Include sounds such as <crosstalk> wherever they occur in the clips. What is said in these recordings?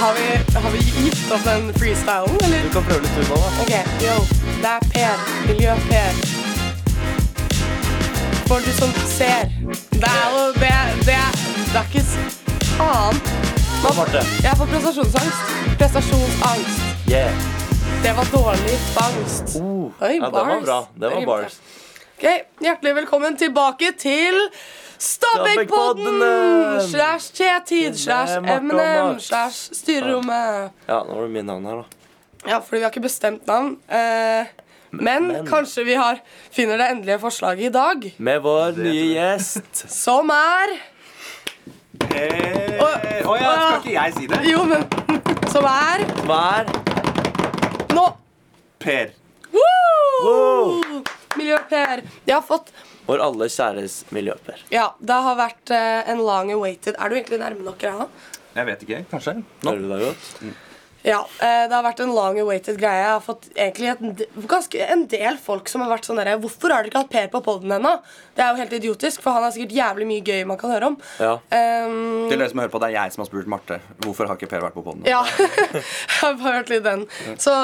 Har vi, har vi gitt opp den freestylen, eller? Du kan prøve litt tuba, da. Ok, yo, det er Per, Miljø-Per. For du som ser. Det er jo Det, det, det er ikke s- annet. Kom, Marte. Jeg får prestasjonsangst. Prestasjonsangst. Yeah. Det var dårlig angst. Uh, Oi, ja, det var bars. bra. Det var Rimte. bars. Ok, Hjertelig velkommen tilbake til Stabækpodden! Stabækpodden! Slash T-tid, slash Med Marte og MNM, Max. slash styrerommet. Ja, nå var det mitt navn her, da. Ja, fordi vi har ikke bestemt navn. Eh, men, men- kanskje vi har, finner det endelige forslaget i dag, Med vår nye gjest. som er Eh, Å- å å ja, ja. skal ikke jeg si det? Jo, men <laughs> Som er Hva er nå Per. Woo! Miljø-Per. Jeg har fått vår alle kjæres miljøper? Ja, det har vært eh, en long awaited Er du egentlig nærme nok greia? Jeg vet ikke. Kanskje. Hører du deg godt? Ja, eh, det har vært en long awaited greie. Jeg har fått egentlig et, d- ganske en del folk som har vært sånn derre Hvorfor har dere ikke hatt Per på poden ennå? Det er jo helt idiotisk, for han har sikkert jævlig mye gøy man kan høre om. Ja. Um, Til dere som hører på, det er jeg som har spurt Marte hvorfor har ikke Per vært på poden. Ja. <laughs> jeg har bare hørt litt den. Så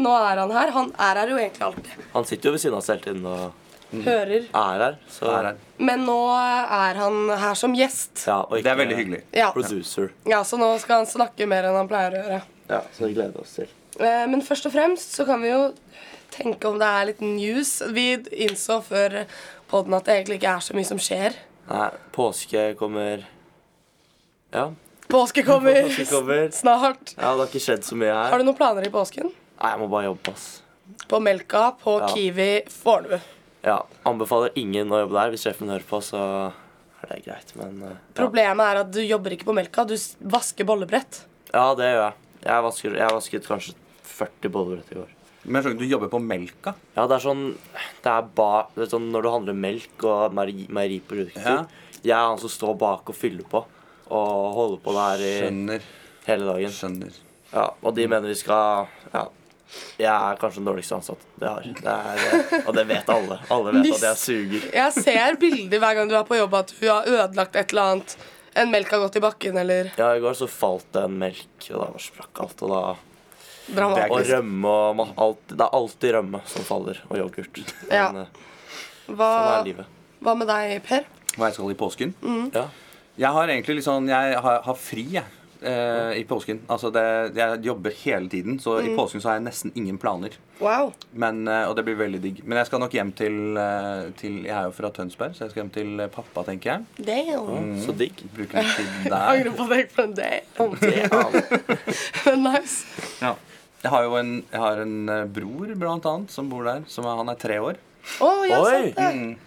nå er han her. Han er her jo egentlig alltid. Han sitter jo ved siden av oss hele tiden og Hører. er her. Så Her er- Men nå er han her som gjest. Ja, og ikke Det er veldig hyggelig. Ja. Producer. ja, så nå skal han snakke mer enn han pleier å gjøre. Ja, så vi gleder oss til. Eh, Men først og fremst så kan vi jo tenke om det er litt news. Vi innså før podden at det egentlig ikke er så mye som skjer. Nei, påske kommer Ja. Påske kommer, Påske kommer. snart. Ja, det har ikke skjedd så mye her. Har du noen planer i påsken? Nei, jeg må bare jobbe, ass. På Melka, på Ja. Kiwi, Fornebu. Ja, anbefaler ingen å jobbe der. Hvis sjefen hører på, så er det greit, men eh, ja. Problemet er at du jobber ikke på Melka, du s- vasker bollebrett. ja, det gjør jeg. Jeg vasket, jeg vasket kanskje 40 bollebrett i går. Men jeg skjønner, du jobber på Melka? Ja, det er sånn Det er ba... Det er sånn, når du handler melk og meieri- meieriprodukter Ja. Jeg er han som står bak og fyller på. Og holder på der i Skjønner. hele dagen. Skjønner. Ja, og de mener vi skal Ja. Jeg er kanskje den dårligste ansatte de har. Det er, eh, og det vet alle. Alle vet at jeg suger. Jeg ser bilder hver gang du er på jobb at du har ødelagt et eller annet. En melk har gått i bakken, eller Ja, I går så falt det en melk, og da sprakk alt. Og da Det er drama. Og rømme og ma- alt, Det er alltid rømme som faller, og yoghurt. Ja. Men, eh, sånn er Hva, livet. hva med deg, Per? Hva jeg skal i påsken? Ja. Jeg har egentlig litt sånn Jeg har, har fri, jeg. eh, I påsken. Altså det, jeg jobber hele tiden, så i påsken så har jeg nesten ingen planer. Wow. Men, eh, og det blir veldig digg. Men jeg skal nok hjem til, eh, til Jeg er jo fra Tønsberg, så jeg skal hjem til eh, pappa, tenker jeg. Damn. Mm. Så digg. Bruke litt tid der. Angrer på at jeg gikk for en day. Det er- Men <laughs> nice. Ja. Jeg har jo en, jeg har en eh, bror, blant annet, som bor der. Som er, han er tre år. Å, jeg har Oi! sett det.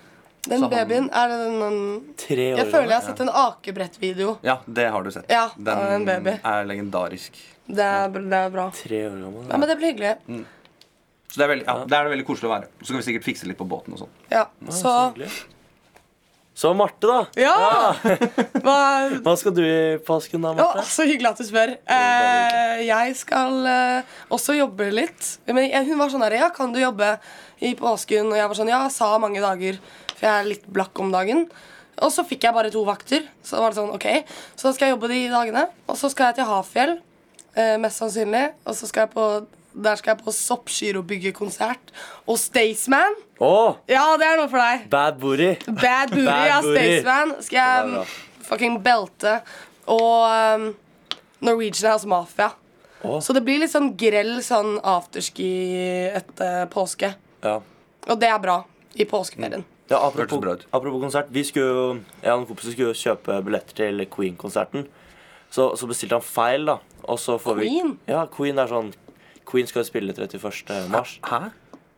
Den Så han- babyen, er det den den- Tre år Jeg føler jeg gammel. har sett en akebrettvideo. Ja, det har du sett. Ja, Den av en baby. er legendarisk. Det, er- det er bra. Tre år gammel. Ja, men det blir hyggelig. Så det er, veldig, ja, der er det veldig koselig å være. Så kan vi sikkert fikse litt på båten og sånn. Ja, så hyggelig. Så Marte, da. Ja! Hva Hva skal du i påsken, da, Ja, Marte? så hyggelig at du spør. Eh, jeg skal eh, også jobbe litt. Men jeg, hun var sånn her Ja, kan du jobbe i påsken? Og jeg var sånn Ja, jeg sa mange dager, for jeg er litt blakk om dagen. Og så fikk jeg bare to vakter. Så da var det sånn, ok Så da skal jeg jobbe de dagene. Og så skal jeg til Hafjell, eh, mest sannsynlig. Og så skal jeg på der skal jeg på Soppgirobygge-konsert. Og Staysman! Å, Ja, det er noe for deg. bad booty. Bad booty Bad av booty. Staysman Det skal var jeg um, bra. fucking belte. Og um, Norwegian House Mafia. Å. Så det blir litt sånn grell sånn afterski etter påske. Ja. Og det er bra i påskeferien. Ja, Hørtes bra apropos, ut. apropos konsert. Vi skulle jo, Jeg og noen kompiser skulle jo kjøpe billetter til Queen-konserten. Så, så bestilte han feil, da. Og så får Queen? Vi, ja, Queen er sånn Queen skal jo spille 31. mars. Hæ?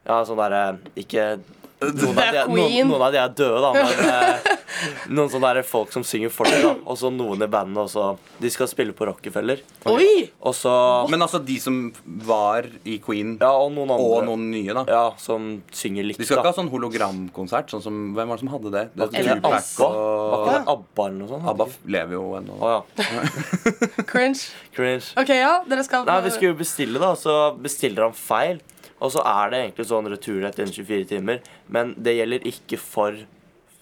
Ja, sånn derre Ikke noen Det av, er de, er- noen, Queen. noen av de er døde, da, men eh, noen sånne der folk som synger for dem, da. Og så noen i bandet også. De skal spille på Rockefeller. Oi! Og så Men altså de som var i Queen, Ja, og noen andre. og noen nye, da. Ja, som synger likt, De skal ikke da. ha sånn hologramkonsert. Sånn som, hvem var det som hadde det? det Eller Tupac ABBA. Var og ikke det ABBA eller noe sånt? ABBA lever jo ennå. Å ja. Cringe. Cringe. Ok, ja, dere skal Nei, vi skulle jo bestille, da, så bestiller han feil. Og så er det egentlig sånn returrett innen 24 timer. Men det gjelder ikke for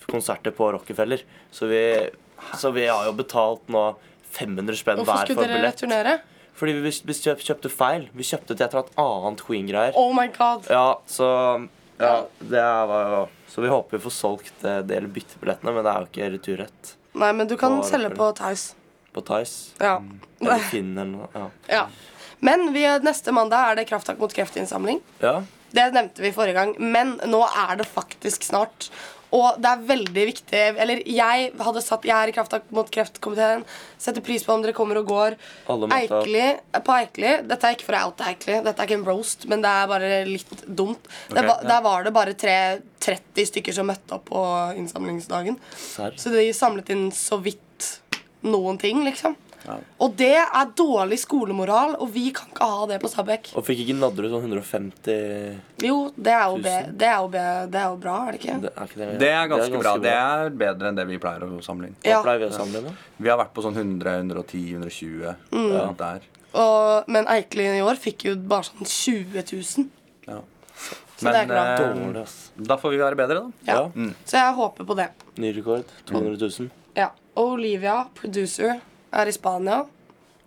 konserter på Rockefeller. Så vi, så vi har jo betalt nå 500 spenn Hvorfor hver skulle for dere billett. returnere? Fordi vi bes- bes- kjøp- kjøpte feil. Vi kjøpte til et eller annet annet Queen-greier. Oh my god. Ja, så ja, det er, hva- Så vi håper vi får solgt eh, det eller byttebillettene, men det er jo ikke returrett Nei, men du kan Bare selge for- på Theis. på Tice. Ja. Eller Finn eller noe. Ja. <laughs> ja. Men vi, neste mandag er det Krafttak mot kreftinnsamling. ja. Det nevnte vi forrige gang, men nå er det faktisk snart. Og det er veldig viktig Eller jeg hadde satt Jeg er i Krafttak mot kreftkomiteen. Setter pris på om dere kommer og går. Alle må ta- Eikli, på Eikli Dette er ikke for å oute Eikli, dette er ikke en roast, men det er bare litt dumt. det, Ok, var- ja. Der var det bare tre, 30 stykker som møtte opp på innsamlingsdagen. Serr. Så de samlet inn så vidt noen ting, liksom. Ja. Og det er dårlig skolemoral, og vi kan ikke ha det på Stabekk. Og fikk ikke Nadderud sånn 150 Jo, det er jo, be, Tusen. det er jo, be, det er jo bra, er det ikke? Det er, ikke det, Det er ganske bra. Det er bedre enn det vi pleier å samle inn. Hva Ja. pleier vi å samle inn, da? Vi har vært på sånn 100, 110, 120 ja, Mm. der. Og, men Eikelin i år fikk jo bare sånn 20 000. Ja. Så det er bra. eh, Dårlig, ass. da får vi være bedre, da. Ja. Ja. Så jeg håper på det. Ny rekord. 200 000. Ja. Og Olivia, producer, er i Spania.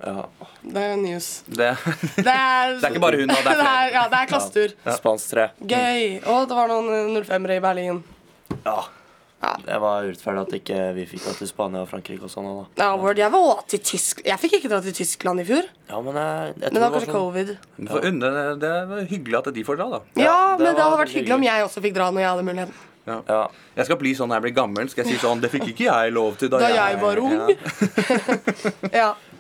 Ja. Det er jo news. Det, <laughs> Det er, det er ikke bare hun, da. Det <laughs> er det flere. er, ja, det er klassetur. Spansk 3. Gøy. Og det var noen 05-ere i Berlin. Ja. Ja. Det var urettferdig at ikke vi fikk dra til Spania og Frankrike og sånn. også, da. Ja, Word, jeg var også til Tysk... Jeg fikk ikke dra til Tyskland i fjor. Ja, men eh, jeg, jeg Men det var tror sånn- kanskje covid. Du får unne, det er hyggelig at de får dra, da. Ja, Ja, det men det var hadde vært veldig hyggelig om jeg også fikk dra når jeg hadde muligheten. Ja. Jeg skal bli sånn når jeg blir gammel. Skal jeg si sånn, Det fikk ikke jeg lov til da, Da jeg var ung. Ja. <laughs>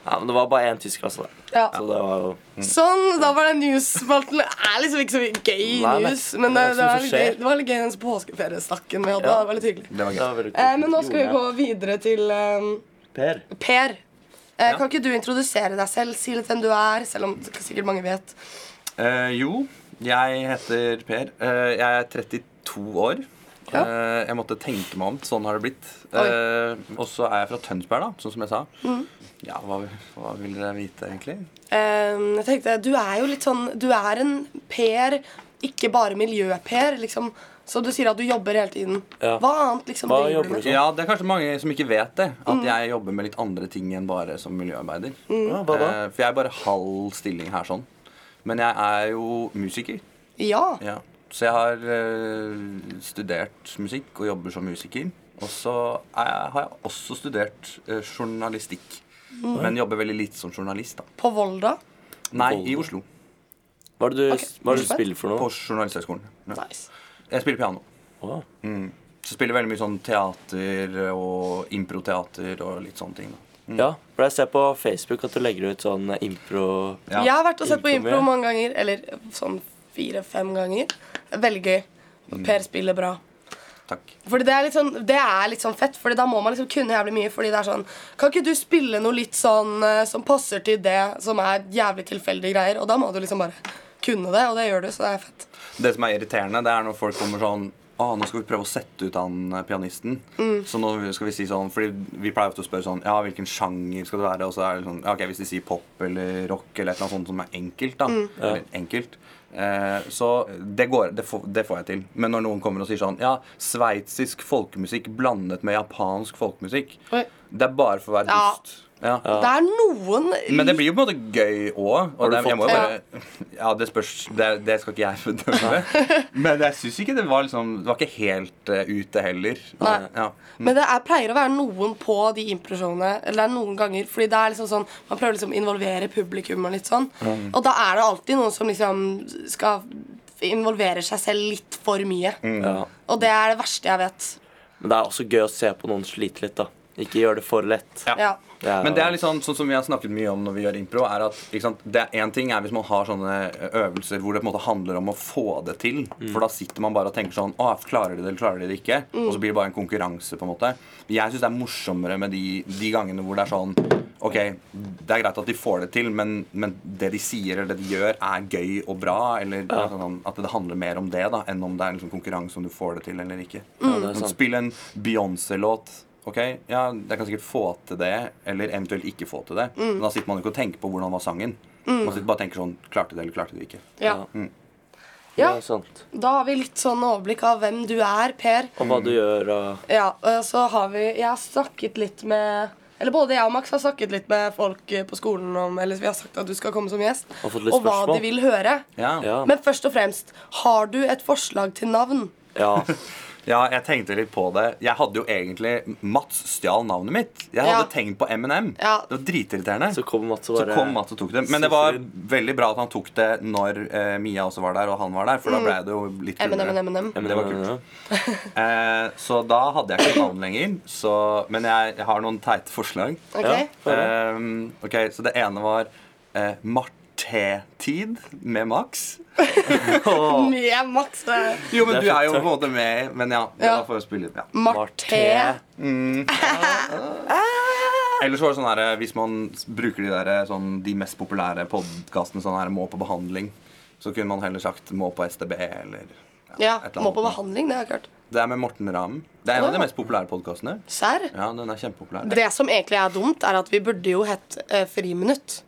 Ja. ja, men det var bare én tysker, altså. der. ja. Så det var jo Sånn, da var den news-spalten Det er liksom ikke så gøy Nei, nei. news, men det, Det er det, som var som litt gøy, skjer. det var litt gøy den påskeferiesnakken vi hadde. Ja. Det var litt hyggelig. Det var det gøy. var veldig Eh, men nå skal vi Jo, gå videre til eh, ja. Per. Per. Eh, Ja. Kan ikke du introdusere deg selv? Si litt hvem du er, selv om sikkert mange vet. Eh, jo, jeg heter Per. Eh, jeg er 32 år. Ja. Eh, jeg måtte tenke meg om. Sånn har det blitt. Oi. Mm. Eh, og så er jeg fra Tønsberg, da, sånn som jeg sa. Ja, hva, hva vil dere vite, egentlig? Eh, jeg tenkte, Du er jo litt sånn Du er en Per, ikke bare miljø-Per. liksom Så du sier at du jobber hele tiden. Ja. Hva annet liksom Hva driver jobber du med? Sånn. Ja, Det er kanskje mange som ikke vet det. At Mm. jeg jobber med litt andre ting enn bare som miljøarbeider. Ja, hva da? Eh, for jeg er bare halv stilling her sånn. Men jeg er jo musiker. Ja. Ja. Så jeg har eh, studert musikk og jobber som musiker. Og så er jeg, har jeg også studert eh, journalistikk. Men jobber veldig lite som journalist. da. På Volda. Nei, i Volda. Oslo. Hva er det du, Ok. hva er det du spiller for På noe? Journalisthøgskolen. Ja. Nice. Jeg spiller piano. Wow. Så spiller veldig mye sånn teater og improteater og litt sånne ting. da. Ja, for jeg ser på Facebook at du legger ut sånn impro Ja. Jeg har vært og sett på Impro impro mye. mange ganger. Eller sånn fire-fem ganger. Veldig gøy. Mm. Per spiller bra. Takk. Fordi det er litt sånn, det er litt sånn fett, Fordi da må man liksom kunne jævlig mye. Fordi det er sånn Kan ikke du spille noe litt sånn eh, som passer til det som er jævlig tilfeldige greier? Og da må du liksom bare kunne det, og det gjør du, så det er fett. Det som er irriterende, det er når folk kommer sånn Å, nå skal vi prøve å sette ut han eh, pianisten. Mm. Så nå skal vi si sånn Fordi vi pleier ofte å spørre sånn Ja, hvilken sjanger skal det være? Og så er det sånn ja, Ok, hvis de sier pop eller rock eller et eller annet sånt som er enkelt, da. Mm. Eller enkelt. Eh, så det går det får, det får jeg til. Men når noen kommer og sier sånn Ja, sveitsisk folkemusikk blandet med japansk folkemusikk. Oi. Det er bare for å være Ja. dust. Ja. Det er noen Men det blir jo på en måte gøy òg. Og du det, jeg må jo fått- bare Ja, det spørs Det, det skal ikke jeg <laughs> bedømme. Men jeg syns ikke det var liksom Det var ikke helt eh, ute heller. Eh, Nei. Ja. Mm. Men det er, pleier å være noen på de improshowene. Eller det er noen ganger Fordi det er liksom sånn man prøver liksom å involvere publikum. Og litt sånn Mm. Og da er det alltid noen som liksom skal involvere seg selv litt for mye. Mm. Ja. Og det er det verste jeg vet. Men det er også gøy å se på noen slite litt, da. Ikke gjør det for lett. Ja. Ja. Men det er litt sånn, sånn som vi har snakket mye om når vi gjør impro, er at ikke sant, det er en ting er hvis man har sånne øvelser hvor det på en måte handler om å få det til. For da sitter man bare og tenker sånn Å, klarer de det, eller klarer de det ikke? Og så blir det bare en konkurranse, på en måte. Jeg syns det er morsommere med de, de gangene hvor det er sånn OK, det er greit at de får det til, men, men det de sier eller det de gjør, er gøy og bra. Eller altså sånn, at det handler mer om det da, enn om det er liksom konkurranse om du får det til eller ikke. Ja, Mm. det er sant. Spill en Beyoncé-låt. Ok, ja, Jeg kan sikkert få til det, eller eventuelt ikke få til det. Mm. Men da sitter man jo ikke og tenker på hvordan var sangen. Man sitter bare og tenker sånn Klarte det, eller klarte det ikke. Ja. Mm. Det ja. er sant. Da har vi litt sånn overblikk av hvem du er, Per. Mm. Og hva du gjør og Ja, og så har vi Jeg har snakket litt med Eller både jeg og Max har snakket litt med folk eh, på skolen om Eller vi har sagt at du skal komme som gjest. Og fått litt hva spørsmål. de vil høre. Ja. Ja. Ja. Men først og fremst, har du et forslag til navn? ja. jeg tenkte litt på det. Jeg hadde jo egentlig Mats stjal navnet mitt. Jeg hadde Ja. tenkt på M&M. Ja. Det var dritirriterende. Så kom Mats og Så bare kom Mats og tok det. Men det var veldig bra at han tok det når eh, Mia også var der, og han var der, for da ble det jo litt M&M, kulere. M&M. Ja, men Det var kult. ja. Eh, så da hadde jeg ikke navn lenger. Så, men jeg, jeg har noen teite forslag. Ja, Ok? bare- Ehm, ok, Så det ene var eh, Marte-tid med Max. <laughs> Åh, Mye Max. eh, Jo, men Det er du så er jo på tørt. en måte med. Men ja, det Ja. var for å spille litt, ja. Marte. Ellers var det sånn her, eh, Hvis man s- bruker de der, eh, sånn, de mest populære podkastene sånn her, må på behandling, så kunne man heller sagt må på STB eller Ja, et eller må annet. på behandling, det har jeg ikke hørt. Det er med Morten Ramm. Det er en av Ja. de mest populære podkastene. Serr? Ja, den er kjempepopulær. Det som egentlig er dumt, er at vi burde jo hett eh, Friminutt.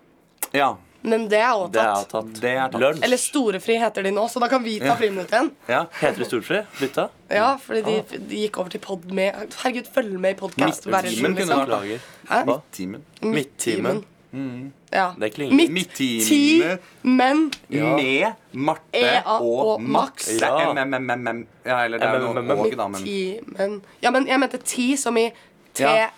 Ja, Men det er også Det er tatt. tatt. Det er tatt. Lunsj. Eller Storefri heter de nå, så da kan vi ta Friminutt igjen. ja. Heter det Storfri? Bytta? Ja, fordi de, de gikk over til pod med Herregud, følg med i podkast-verdenen, Midtimen kunne liksom. vært Mm. Beklager. Hæ? Hva? Timen. Midttimen. Ja. Det klinger. Ti, Midtime men Ja. med Marte EA E og og Max. Max. Det Ja. er MMMM. Ja, eller det er jo noe MMMM. og, da, men Midtimen Ja, men jeg mente ti som i T... Ja.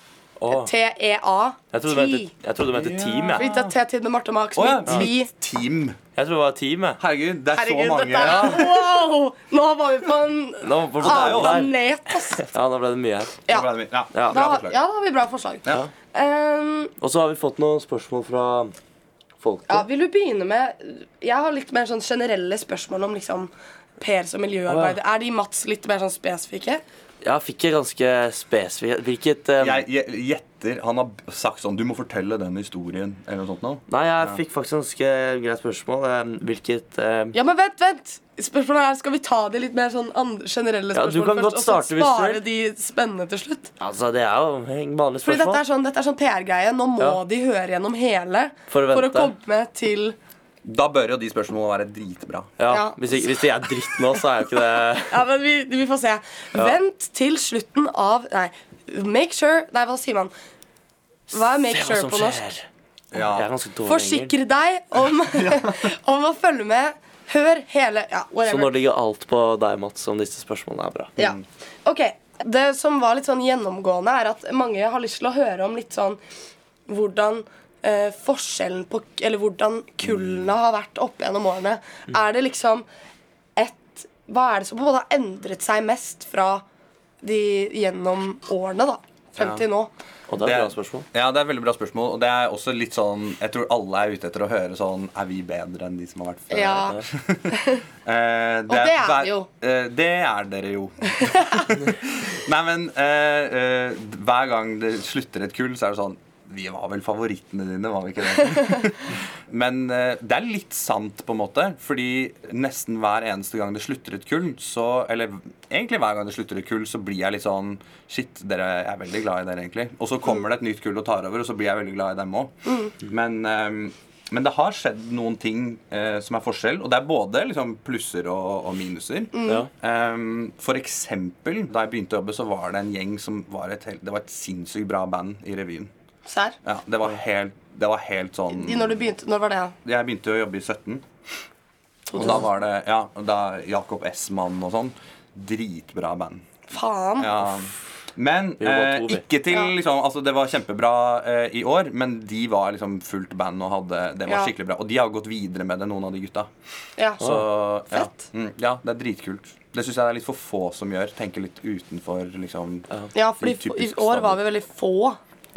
Åh. T-E-A. Jeg trodde det Ti. het- jeg trodde det het team. Fordi Jeg. det er T-tid med Marte Max. Å ja, med ti. Team. jeg trodde det var team. Jeg. Herregud, det er Herregud, så mange. dette er Wow! Nå var vi på en Nå, fortsatt er annen jo der. planet, ass. Ja, nå ble det mye her. Ja, Da ble det mye. Ja, Ja. Bra da, forslag. ja, da har vi bra forslag. Ja. Ehm, Og så har vi fått noen spørsmål fra folket. ja, vil du begynne med Jeg har litt mer sånn generelle spørsmål om liksom Per som miljøarbeider. Er de Mats litt mer sånn spesifikke? Ja, fikk jeg ganske spesifikt Hvilket eh, Jeg jeg gjetter Han har b- sagt sånn Du må fortelle den historien, eller noe sånt nå. Nei, jeg fikk faktisk ganske greit spørsmål. eh, Hvilket eh, Ja, men vent, vent! Spørsmålet er, Skal vi ta de litt mer sånn andre, generelle Ja, spørsmål du kan godt først, og starte så hvis du spare vil. de spennende til slutt? Altså, det er jo en Fordi vanlig spørsmål. dette er sånn, dette er sånn PR-greie. Nå må Ja. de høre gjennom hele For å for å vente. komme til Da bør jo de spørsmålene være dritbra. ja, ja. Hvis, ikke, hvis det er dritt nå, så er jo ikke <laughs> det Ja, men vi, vi får se. Vent til slutten av Nei, make sure Nei, hva sier man? Hva er make Se hva sure som på norsk? skjer. Jeg er Ja. ganske dårlig i engelsk. Forsikre deg <laughs> om, <laughs> om å følge med. Hør hele Ja, Så nå whatever. ligger alt på deg, Mats, om disse spørsmålene er bra. Ja. Mm. Ok, Det som var litt sånn gjennomgående, er at mange har lyst til å høre om litt sånn hvordan eh, forskjellen på Eller hvordan Mm. kullene har vært opp gjennom årene. Er det liksom et Hva er det som på en måte har endret seg mest fra de gjennom årene, da? Frem Ja. til nå. Og det er et bra spørsmål. ja, det er veldig bra spørsmål. Og det er også litt sånn Jeg tror alle er ute etter å høre sånn Er vi bedre enn de som har vært før? Ja. Eh, Og det er hver- vi jo. eh, det er <laughs> dere jo. Nei, men eh, eh, hver gang det slutter et kull, så er det sånn Vi var vel favorittene dine, var vi ikke det? men eh, det er litt sant, på en måte. Fordi nesten hver eneste gang det slutter et kull, så Eller egentlig hver gang det slutter et kull, så blir jeg litt sånn Shit, dere jeg er veldig glad i dere, egentlig. Og så kommer det et nytt kull og tar over, og så blir jeg veldig glad i dem òg. Men eh, men det har skjedd noen ting eh, som er forskjell, og det er både liksom, plusser og, og minuser. Ja. Um, for eksempel, da jeg begynte å jobbe, så var det en gjeng som var et, helt, det var et sinnssykt bra band i revyen. Serr? Ja, det var helt, det var helt sånn I- Når du begynte, når var det? Jeg begynte å jobbe i 17. Og da var det ja, da Jakob S-mann og sånn. Dritbra band. Faen. Ja. Men Vi var eh, to, vi. ikke til Ja. liksom, altså Det var kjempebra eh, i år, men de var liksom fullt band og hadde Det var Ja. skikkelig bra. Og de har gått videre med det, noen av de gutta. Ja. Så, ja. Fett. Mm, ja, det er dritkult. Det syns jeg det er litt for få som gjør. Tenker litt utenfor, liksom. ja, fordi Typisk i år var vi veldig få.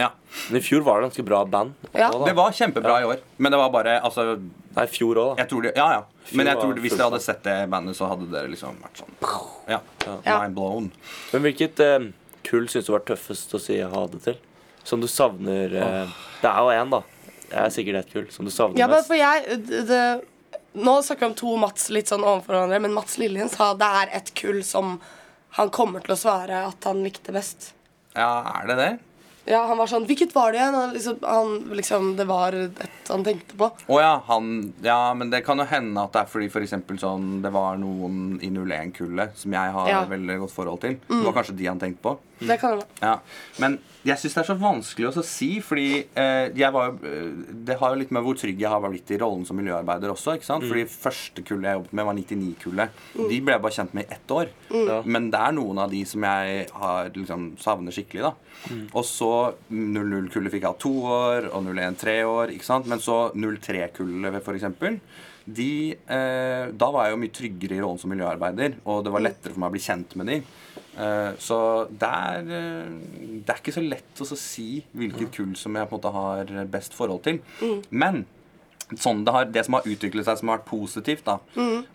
Ja. Men i fjor var det ganske bra band. Ja. Også, da. Det var kjempebra i år, men det var bare altså, Nei, i fjor òg, da. jeg tror det, Ja, ja. Men jeg Fy, det tror var hvis fullt dere hadde sett det bandet, så hadde dere liksom vært sånn Ja. Ja. Mind blown. Men hvilket eh, kull syns du var tøffest å si ha det til? Som du savner eh, Det er jo én, da. Det er sikkert ett kull som du savner Ja, men mest. for jeg det, det, Nå snakker vi om to Mats litt sånn overfor hverandre, men Mats Lillien sa det er et kull som han kommer til å svare at han likte best. Ja, er det det? Ja, Han var sånn 'Hvilket var det igjen?' Og liksom, han, liksom, det var et han tenkte på. Å ja, han Ja, men det kan jo hende at det er fordi for eksempel sånn Det var noen i 01-kullet som jeg har Ja. veldig godt forhold til. Det var kanskje de han tenkte på. Det kan det være. Ja. Men jeg syns det er så vanskelig også å si, fordi eh, jeg var jo, eh, det har jo litt med hvor trygg jeg har blitt i rollen som miljøarbeider også. ikke sant? Fordi første kullet jeg jobbet med, var 99-kullet. De ble jeg bare kjent med i ett år. Ja. Men det er noen av de som jeg har liksom savner skikkelig. da Og så 00-kullet fikk jeg ha to år, og 01 tre år. ikke sant? Men så 03-kullet, for eksempel. De, eh, da var jeg jo mye tryggere i rollen som miljøarbeider, og det var lettere for meg å bli kjent med de. Eh, Så det er, eh, det er ikke så lett å så si hvilket kull som jeg på en måte har best forhold til. Men sånn det, har, det som har utviklet seg som har vært positivt, da,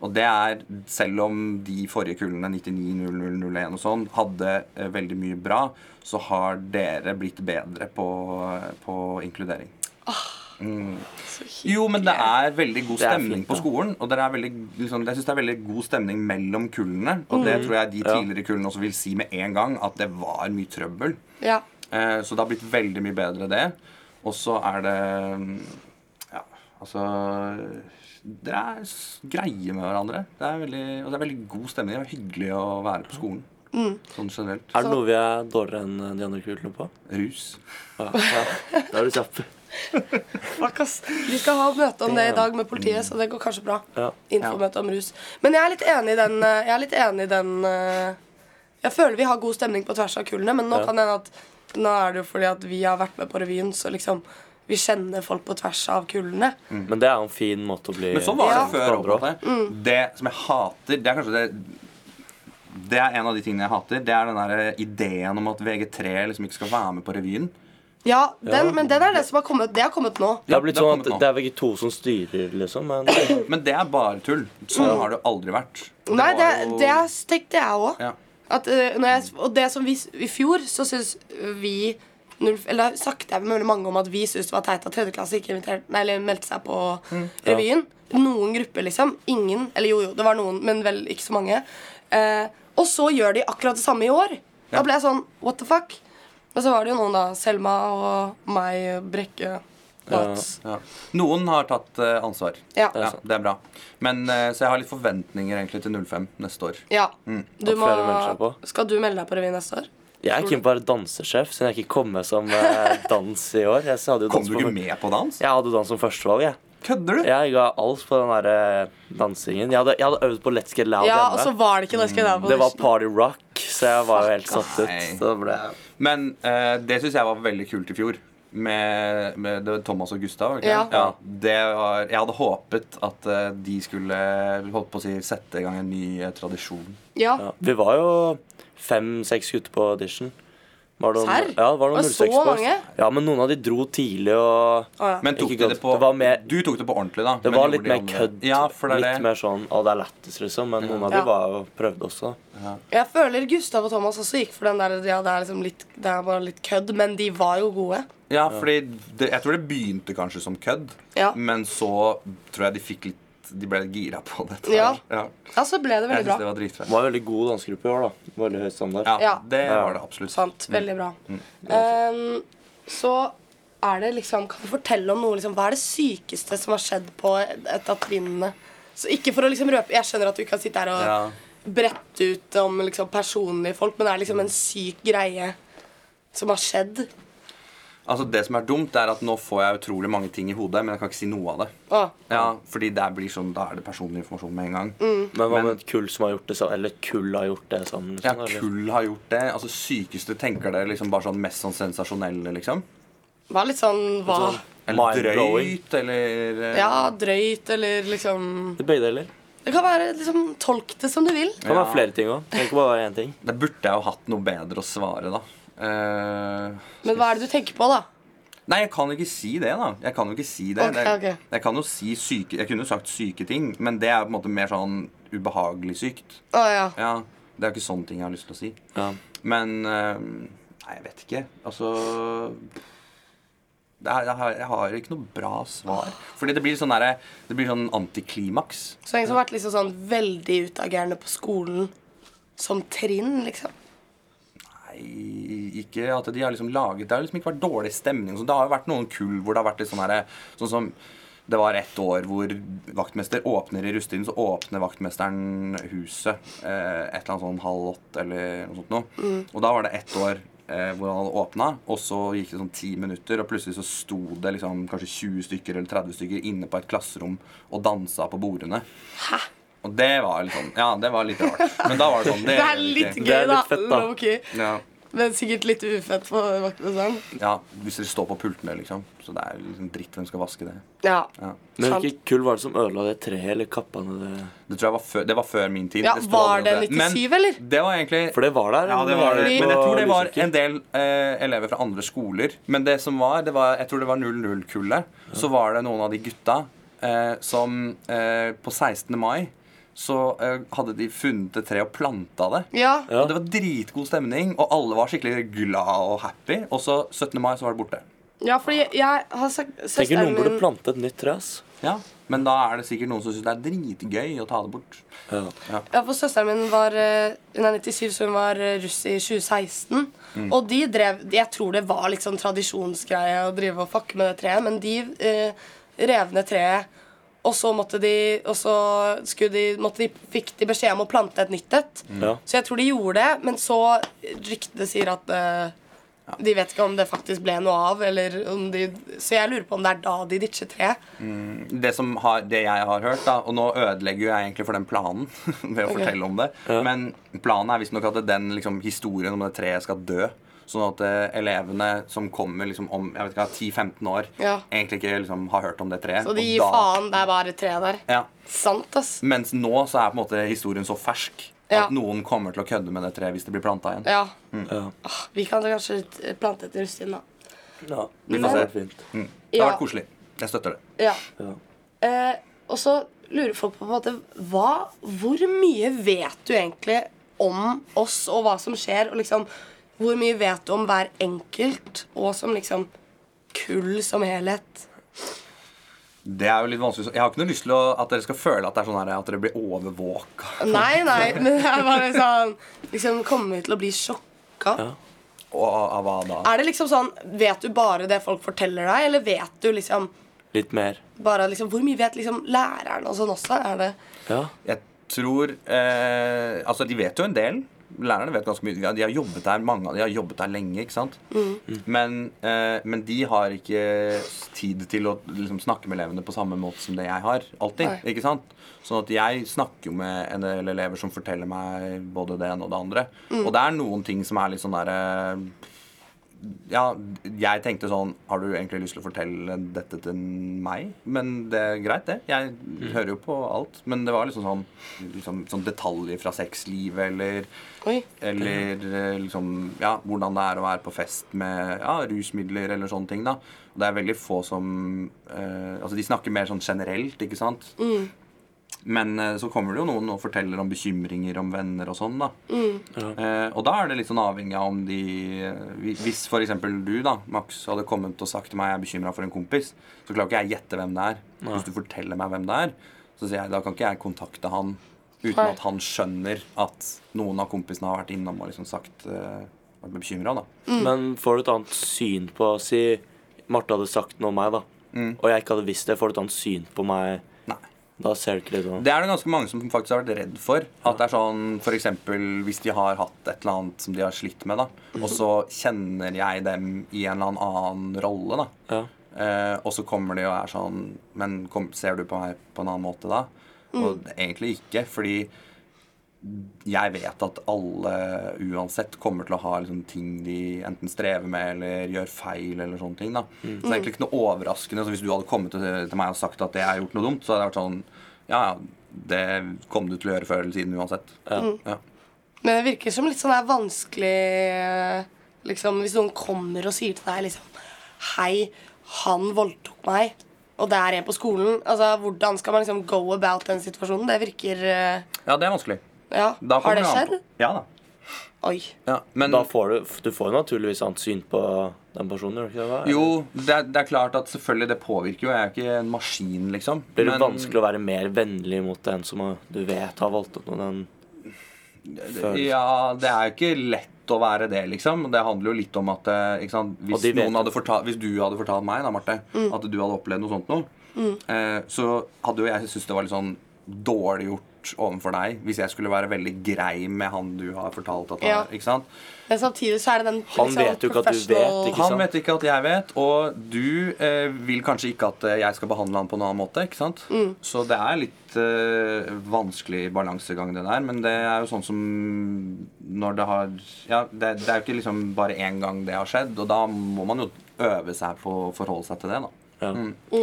og det er selv om de forrige kullene, 99, 00, 01 og sånn, hadde eh, veldig mye bra, så har dere blitt bedre på, på inkludering. Så hy- Jo, men det er veldig god Det er stemning fint, på da. skolen. Og dere er veldig, liksom, jeg syns det er veldig god stemning mellom kullene. Og det tror jeg de Mm. Ja. tidligere kullene også vil si med en gang, at det var mye trøbbel. Ja. Eh, så det har blitt veldig mye bedre, det. Og så er det mm, Ja, altså Dere er s- greie med hverandre. Det er veldig, og det er veldig god stemning. Det er hyggelig å være på skolen. Mm. Sånn generelt. Er det noe vi er dårligere enn de andre kulene på? Rus. <laughs> Ja, ja. Da er du kjapp. Fuck, ass. Vi skal ha møte om det i dag med politiet, så det går kanskje bra. Ja. Informøte om rus. Men jeg er litt enig i den eh, Jeg er litt enig i den eh, Jeg føler vi har god stemning på tvers av kullene, men nå Ja. kan det hende at Nå er det jo fordi at vi har vært med på revyen, så liksom vi kjenner folk på tvers av kullene. Men det er jo en fin måte å bli Mm. Men sånn var det Ja. Mm. før. forandret. Robert. Det som jeg hater Det er kanskje det Det er en av de tingene jeg hater. Det er den der eh, ideen om at VG3 liksom ikke skal være med på revyen. Ja, den, Ja. Men den er det som har kommet. Det har kommet nå. Det har blitt Ja, det har sånn at kommet nå. det er VG2 som styrer, liksom. Men det Men det er bare tull. Sånn har det jo aldri vært. Det Mm. Nei, var det, jo- det er- tenkte jeg òg. ja. At, eh, når jeg, og det som vi s- I fjor så syns vi null- Eller da snakket jeg med veldig mange om at vi syntes det var teit at tredjeklasse ikke inviterte- nei, eller meldte seg på Mm. revyen. Noen grupper, liksom. Ingen. Eller jo, jo, det var noen, men vel ikke så mange. Eh, og så gjør de akkurat det samme i år. Da Ja. ble jeg sånn what the fuck? Men så var det jo noen, da. Selma og meg, Brekke. Mats. Ja. Noen har tatt eh, ansvar. Ja. Ja, det er bra. Men, eh, så jeg har litt forventninger egentlig til 05 neste år. Ja. Mm. Du At flere melder seg må, på. skal du melde deg på revy neste år? Jeg er keen på å være dansesjef, siden jeg ikke kom med som <laughs> eh, dans i år. Jeg hadde jo Kom dans du på- ikke med på dans? Jeg hadde dans som førstevalg, jeg. Kødder du? Jeg ga alt på den der eh, dansingen. Jeg hadde, jeg hadde øvd på Let's Get Loud Ja, altså, og så hjemme. var det ikke det. Skal jeg være på Det var audition. party rock, så jeg var jo helt Fuck, satt ut. ass. Så det ble Men eh, det syns jeg var veldig kult i fjor. Med, med det var Thomas og Gustav. var det Ikke? Ja. det? Ja, det var, jeg hadde håpet at eh, de skulle holdt på å si, sette i gang en ny eh, tradisjon. ja. ja. Vi var jo fem-seks gutter på audition. Var det noen- Serr? Ja, det var, noen Var det så 06 på oss. mange? Ja, men noen av de dro tidlig og Å, ja. Men tok Ikke du det godt. på Det var mer- Du tok det på ordentlig, da. Det men var gjorde litt de mer andre- kødd. Ja, for det er litt det. mer sånn Å, det er lættis, liksom. Men noen av Ja. de var jo prøvde også. Jeg føler Gustav og Thomas også gikk for den der Ja, det er liksom litt Det er bare litt kødd, men de var jo gode. Ja, fordi det, jeg tror det begynte kanskje som kødd, Ja. men så tror jeg de fikk litt De ble litt gira på dette. her. Ja. Ja. Ja, så ble det veldig Jeg syns det bra. var dritfett. Det var en veldig god dansegruppe i år, da. Veldig høy standard. Ja, Ja. det Ja. var det absolutt. Sant. Veldig bra. Mm. Ehm, så er det liksom Kan du fortelle om noe liksom Hva er det sykeste som har skjedd på et av trinnene? Så ikke for å liksom røpe Jeg skjønner at du ikke kan sitte her og Ja. brette ut om liksom personlige folk, men det er liksom en syk greie som har skjedd. Altså Det som er dumt, er at nå får jeg utrolig mange ting i hodet, men jeg kan ikke si noe av det. Å, Ja, fordi det blir sånn, Da er det personlig informasjon med en gang. Mm. Men hva med et kull som har gjort det sammen? Eller kull har gjort det sammen? Ja, Liksom, eller? Kull har gjort det. altså Sykeste tenker dere liksom bare sånn mest sånn sensasjonelle, liksom? var litt sånn Hva? Sånn Eller mind-blowing. drøyt, eller eh, Ja, drøyt, eller liksom Det er Begge deler. Det kan være liksom Tolk det som du vil. Det kan Ja. være flere ting òg. Ikke bare være én ting. Der burde jeg jo hatt noe bedre å svare, da. Eh, Men hva er det du tenker på, da? nei, jeg kan jo ikke si det, da. Jeg kan jo ikke si det. Ok, Det- ok. Jeg kan jo si syke Jeg kunne jo sagt syke ting, men det er på en måte mer sånn ubehagelig sykt. Å ja. Ja, Det er jo ikke sånne ting jeg har lyst til å si. Ja. Men eh, Nei, jeg vet ikke. Altså det er, jeg, har, jeg har ikke noe bra svar. Fordi det blir sånn, derre- det blir sånn antiklimaks. Så en som har vært liksom sånn veldig utagerende på skolen som trinn, liksom. Nei, ikke at de har liksom laget Det har liksom ikke vært dårlig stemning. og sånn. det har jo vært noen kull hvor det har vært litt sånn herre Sånn som Det var ett år hvor vaktmester åpner i rusttiden, så åpner vaktmesteren huset eh, et eller annet sånn halv åtte eller noe sånt noe. Mm. Og da var det ett år eh, hvor han hadde åpna, og så gikk det sånn ti minutter, og plutselig så sto det liksom kanskje 20 stykker eller 30 stykker inne på et klasserom og dansa på bordene. Og det var litt sånn Ja, det var litt rart. Men da var det sånn. Det, Det er gjør vi litt ikke. gøy, Det er da. litt fett, da. low key. ja. Men sikkert litt ufett for vaktmesteren. ja, hvis dere står på pultene, liksom. Så det er liksom dritt hvem skal vaske det. Ja. Ja. Men Sant. hvilket kull var det som ødela det treet eller kappa ned det? Det tror jeg var før, det var før min tid. Ja, står var aldri om det 97, Men eller? Det var egentlig For det var der. ja, det var det. på Men jeg tror det var Lysaker. en del eh, elever fra andre skoler. Men det som var, det var jeg tror det var 00-kullet. Så var det noen av de gutta eh, som eh, på 16. mai så eh, hadde de funnet et tre og planta det. ja. Ja. Og det var dritgod stemning, og alle var skikkelig glad og happy. Og så 17. mai så var det borte. Ja, fordi jeg- jeg har sagt Tenker Søsteren noen burde min plante et nytt tre, ass. Ja, Men da er det sikkert noen som syns det er dritgøy å ta det bort. Ja. ja, for søsteren min var eh, Hun er 97, så hun var eh, russ i 2016. Mm. Og de drev de- Jeg tror det var liksom tradisjonsgreie å drive og fucke med det treet, men de eh, rev ned treet. Og så, måtte de, og så skulle de, måtte de, fikk de beskjed om å plante et nytt et. Mm. Mm. Ja. Så jeg tror de gjorde det, men så ryktene sier at eh, de vet ikke om det faktisk ble noe av. Eller om de, så jeg lurer på om det er da de ditcher treet. det, som har, det jeg har hørt, da, og nå ødelegger jo jeg egentlig for den planen <laughs> ved å fortelle om det, men planen er visstnok at den liksom, historien om det treet skal dø. Sånn at eh, elevene som kommer liksom, om jeg vet ikke, 10-15 år, Ja. egentlig ikke liksom, har hørt om det treet. Så de og gir da- faen. Det er bare tre der. Ja. Sant, ass. Mens nå så er på en måte historien så fersk Ja. at noen kommer til å kødde med det treet hvis det blir planta igjen. Ja. Ja. Ah, Vi kan kanskje t- plante et rustin, da. Ja. Vi Det hadde får se. Mm. vært fint. Det har Ja. vært koselig. Jeg støtter det. Ja. Ja. Eh, og så lurer folk på på en måte hva, Hvor mye vet du egentlig om oss og hva som skjer? Og liksom, hvor mye vet du om hver enkelt, og som liksom kull som helhet? Det er jo litt vanskelig. så- Jeg har ikke noe lyst til å, at dere skal føle at, det er sånn her, at dere blir overvåka. Nei, nei, <laughs> men det er bare sånn Liksom kommer vi til å bli sjokka? Ja. Og av hva da? Er det liksom sånn Vet du bare det folk forteller deg, eller vet du liksom Litt mer. bare liksom, Hvor mye vet liksom læreren og sånn også? Er det Ja. Jeg tror eh, Altså, de vet jo en del. Lærerne vet ganske mye. De har- De har jobbet der, mange av de har jobbet der lenge. ikke sant? Men, eh, men de har ikke tid til å liksom, snakke med elevene på samme måte som det jeg har. Nei. Alltid. ikke sant? Sånn at jeg snakker jo med en del elever som forteller meg både det ene og det andre. Og det er noen ting som er litt sånn derre ja, jeg tenkte sånn Har du egentlig lyst til å fortelle dette til meg? Men det er greit, det. Jeg hører jo på alt. Men det var liksom sånn, liksom, sånn detaljer fra sexlivet eller Oi. eller eh, liksom Ja, hvordan det er å være på fest med ja, rusmidler eller sånne ting, da. Og det er veldig få som eh, Altså, de snakker mer sånn generelt, ikke sant? Men eh, så kommer det jo noen og forteller om bekymringer om venner og sånn, da. Eh, og da er det litt sånn avhengig av om de eh, hvi- Hvis for eksempel du, da, Max, hadde kommet og sagt til meg jeg er bekymra for en kompis, så klarer ikke jeg gjette hvem det er. Hvis du forteller meg hvem det er, så sier jeg da kan ikke jeg kontakte han uten Nei. at han skjønner at noen av kompisene har vært innom og liksom sagt eh, vært bekymra, da. Men får du et annet syn på Si Marte hadde sagt noe om meg, da. Og jeg ikke hadde visst det. Får du et annet syn på meg? Mm. Nei. Da ser du ikke det sånn. Det er det ganske mange som faktisk har vært redd for. At det er sånn, for eksempel, Hvis de har hatt et eller annet som de har slitt med, da, og så kjenner jeg dem i en eller annen rolle, da. Ja. Eh, og så kommer de og er sånn Men kom, ser du på meg på en annen måte da? Og egentlig ikke, fordi jeg vet at alle uansett kommer til å ha liksom, ting de enten strever med eller gjør feil. eller sånne ting da. Mm. Så det er egentlig ikke noe overraskende. Så Hvis du hadde kommet til, til meg og sagt at jeg har gjort noe dumt, så hadde jeg vært sånn Ja, ja, det kom du til å gjøre før eller siden uansett. Mm. Ja. Men det virker som litt sånn der vanskelig eh, liksom, Hvis noen kommer og sier til deg liksom Hei, han voldtok meg, og det er en på skolen. Altså, Hvordan skal man liksom go about den situasjonen? Det virker eh, ja, det er vanskelig. Ja. Da Har kommer det an på- skjedd? Ja da. Oi. Ja, men, Da får du Du får jo naturligvis annet syn på den personen, gjør du ikke det? da? Eller Jo, det er, det er klart at selvfølgelig det påvirker jo. Jeg er jo ikke en maskin, liksom. Blir det Men- vanskelig å være mer vennlig mot en som har- du vet har voldtatt noen enn Ja, det er jo ikke lett godt å være det, liksom. Det handler jo litt om at eh, ikke sant? Og Hvis, de vet noen hadde fortalt, hvis du hadde fortalt meg, da, Marte, at du hadde opplevd noe sånt nå, eh, så hadde jo jeg syntes det var litt sånn dårlig gjort overfor deg hvis jeg skulle være veldig grei med han du har fortalt at Ja. han, Ikke sant? Men samtidig så er det den liksom, Han vet jo ikke at du professional- vet, ikke Han sant? vet ikke at jeg vet, og du eh, vil kanskje ikke at eh, jeg skal behandle han på en annen måte. ikke sant? Mm. Så det er litt eh, vanskelig balansegang, det der. Men det er jo sånn som når det har Ja, det, det er jo ikke liksom bare én gang det har skjedd, og da må man jo øve seg på å forholde seg til det, da. Ja.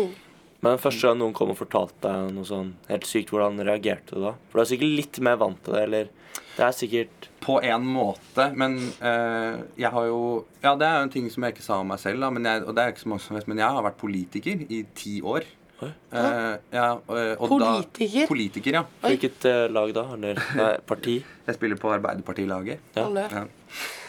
Men første gang noen kom og fortalte deg noe sånn helt sykt, hvordan reagerte du da? For du er sikkert litt mer vant til det, eller Det er sikkert På en måte, men eh, jeg har jo Ja, det er jo en ting som jeg ikke sa om meg selv, da, men jeg, og det er ikke så mange som vet, men jeg har vært politiker i ti år. Oi. Eh, ja, eh, og Politiker? Da, politiker, ja. Oi. Hvilket eh, lag da? Eller nei, parti? Jeg spiller på Arbeiderpartilaget. Ja. Alle. Ja.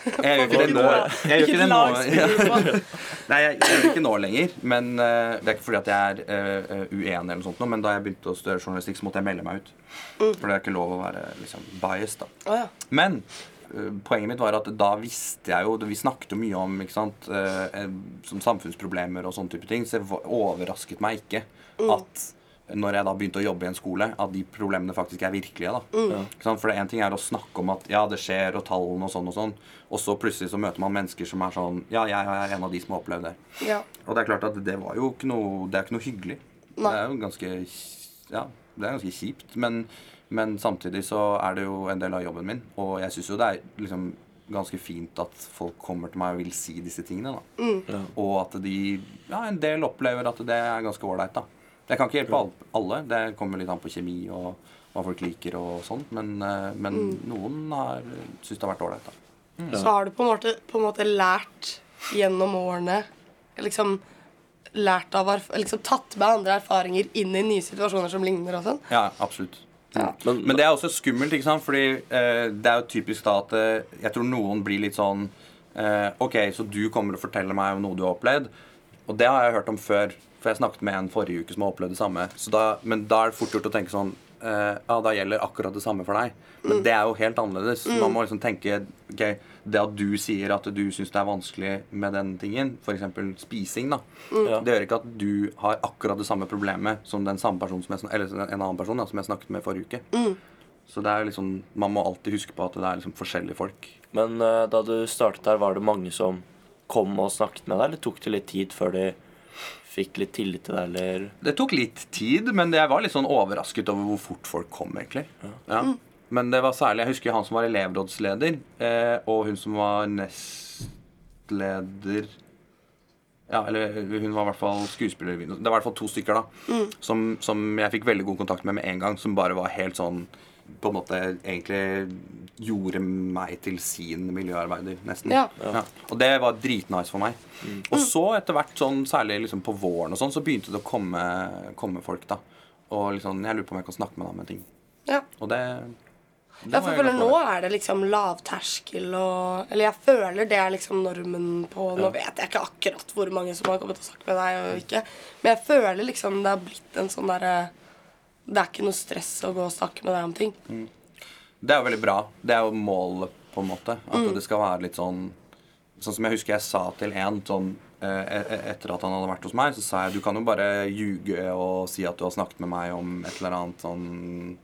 Jeg gjør ikke det Hvilket nå. lag- Jeg gjør ikke hvilket det nå. lag spiller <laughs> du på? Nei, jeg gjør det ikke nå lenger. Men eh, det er ikke fordi at jeg er eh, eh, uenig, eller noe sånt, nå, men da jeg begynte å studere journalistikk, så måtte jeg melde meg ut. For det er ikke lov å være liksom, biased, da. Mm. Å ja. Men eh, poenget mitt var at da visste jeg jo Vi snakket jo mye om ikke sant, eh, eh, som samfunnsproblemer og sånne type ting, så det var- overrasket meg ikke at eh, når jeg da begynte å jobbe i en skole, at de problemene faktisk er virkelige. da. Ikke sant? For det en ting er å snakke om at ja, det skjer, og tallene og sånn og sånn, og så plutselig så møter man mennesker som er sånn Ja, jeg er en av de som har opplevd det. ja. Og det er klart at det var jo ikke noe Det er ikke noe hyggelig. Nei. Det er jo ganske Ja, det er ganske kjipt. Men, men samtidig så er det jo en del av jobben min. Og jeg syns jo det er liksom ganske fint at folk kommer til meg og vil si disse tingene. da Ja. Og at de Ja, en del opplever at det er ganske ålreit, da. Jeg kan ikke hjelpe al- alle. Det kommer litt an på kjemi og hva folk liker og sånn. Men, eh, men noen har syns det har vært ålreit, da. Så har du på en måte, på en måte lært gjennom årene liksom lært av erf- liksom tatt med andre erfaringer inn i nye situasjoner som ligner og sånn. Ja, absolutt. Ja. Men, Men det er også skummelt, ikke sant? Fordi eh, det er jo typisk da at eh, jeg tror noen blir litt sånn eh, Ok, så du kommer og forteller meg om noe du har opplevd. Og det har jeg hørt om før, for jeg snakket med en forrige uke som har opplevd det samme. Så da, men da er det fort gjort å tenke sånn eh, Ja, da gjelder akkurat det samme for deg. Men det er jo helt annerledes. Mm. Man må liksom tenke ok, Det at du sier at du syns det er vanskelig med den tingen, f.eks. spising, da, Mm. Ja. det gjør ikke at du har akkurat det samme problemet som den samme personen som jeg, sn- eller en annen person da, som jeg snakket med forrige uke. Så det er liksom, man må alltid huske på at det er liksom forskjellige folk. men eh, da du startet der, var det mange som kom og snakket med deg, eller tok det litt tid før de fikk litt tillit til deg, eller Det tok litt tid, men jeg var litt sånn overrasket over hvor fort folk kom, egentlig. Ja. Men det var særlig, jeg husker han som var elevrådsleder, eh, og hun som var nestleder Ja, eller hun var i hvert fall skuespiller. Det var i hvert fall to stykker, da. Mm. Som, som jeg fikk veldig god kontakt med med en gang, som bare var helt sånn På en måte egentlig gjorde meg til sin miljøarbeider, nesten. Ja. Mm. Ja. Og det var dritnice for meg. Og så etter hvert, sånn, særlig liksom på våren og sånn, så begynte det å komme, komme folk, da. Og liksom, jeg lurer på om jeg kan snakke med deg om en ting. Ja. Og det, det Ja, var for jeg glad føler for. nå er det liksom lavterskel og Eller jeg føler det er liksom normen på Nå vet jeg ikke akkurat hvor mange som har kommet og snakket med deg og ikke, men jeg føler liksom det har blitt en sånn derre Det er ikke noe stress å gå og snakke med deg om ting. Det er jo veldig bra. Det er jo målet, på en måte. At det skal være litt sånn Sånn som jeg husker jeg sa til en sånn eh, e- e- etter at han hadde vært hos meg, så sa jeg du kan jo bare ljuge og si at du har snakket med meg om et eller annet sånn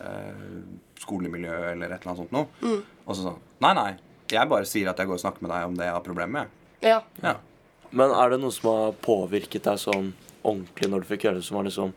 eh, skolemiljø eller et eller annet sånt noe. Og så sånn Nei, nei. Jeg bare sier at jeg går og snakker med deg om det jeg har problemer med. Ja. Ja. Men er det noe som har påvirket deg sånn ordentlig når du fikk høre det, som har liksom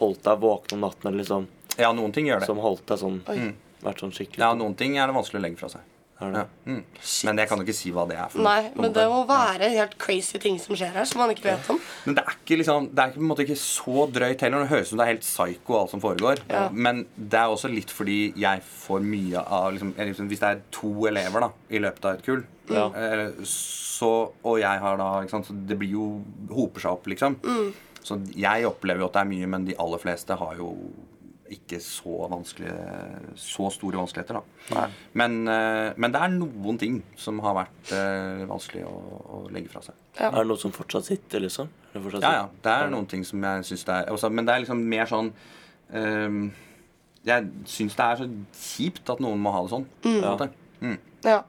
holdt deg våken om natten, eller liksom ja, noen ting gjør det. Som holdt deg sånn Oi. Vært sånn skikkelig Ja, noen ting er det vanskelig å legge fra seg. er det? Ja. Mm. Men jeg kan jo ikke si hva det er. for noe, Nei, på en men måte. det må være helt crazy ting som skjer her, som man ikke vet om. Men det er ikke, liksom, det er ikke, på en måte ikke så drøyt heller. Det høres ut som det er helt psyko alt som foregår. Ja. Men det er også litt fordi jeg får mye av liksom, eller liksom, Hvis det er to elever da, i løpet av et kull, Ja. eh, så, og jeg har da ikke sant, så Det blir jo hoper seg opp, liksom. Så jeg opplever jo at det er mye, men de aller fleste har jo ikke så, vanskelige- så store vanskeligheter, da. Men, eh, men det er noen ting som har vært eh, vanskelig å, å legge fra seg. Er det noe som fortsatt sitter, liksom? Er det fortsatt Ja, ja. Det er noen ting som jeg syns det er altså, Men det er liksom mer sånn ehm, Jeg syns det er så kjipt at noen må ha det sånn. på en måte. Ja.